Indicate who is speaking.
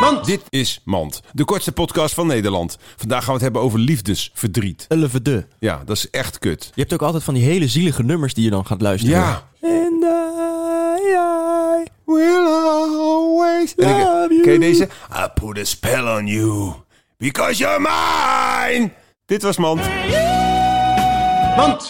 Speaker 1: Mand! Dit is Mand, de kortste podcast van Nederland. Vandaag gaan we het hebben over liefdesverdriet.
Speaker 2: Elevede.
Speaker 1: Ja, dat is echt kut.
Speaker 2: Je hebt ook altijd van die hele zielige nummers die je dan gaat luisteren.
Speaker 1: Ja.
Speaker 2: And I, I will always
Speaker 1: En ik-
Speaker 2: love you.
Speaker 1: Ken je deze? I put a spell on you, because you're mine. Dit was Mand. Mand!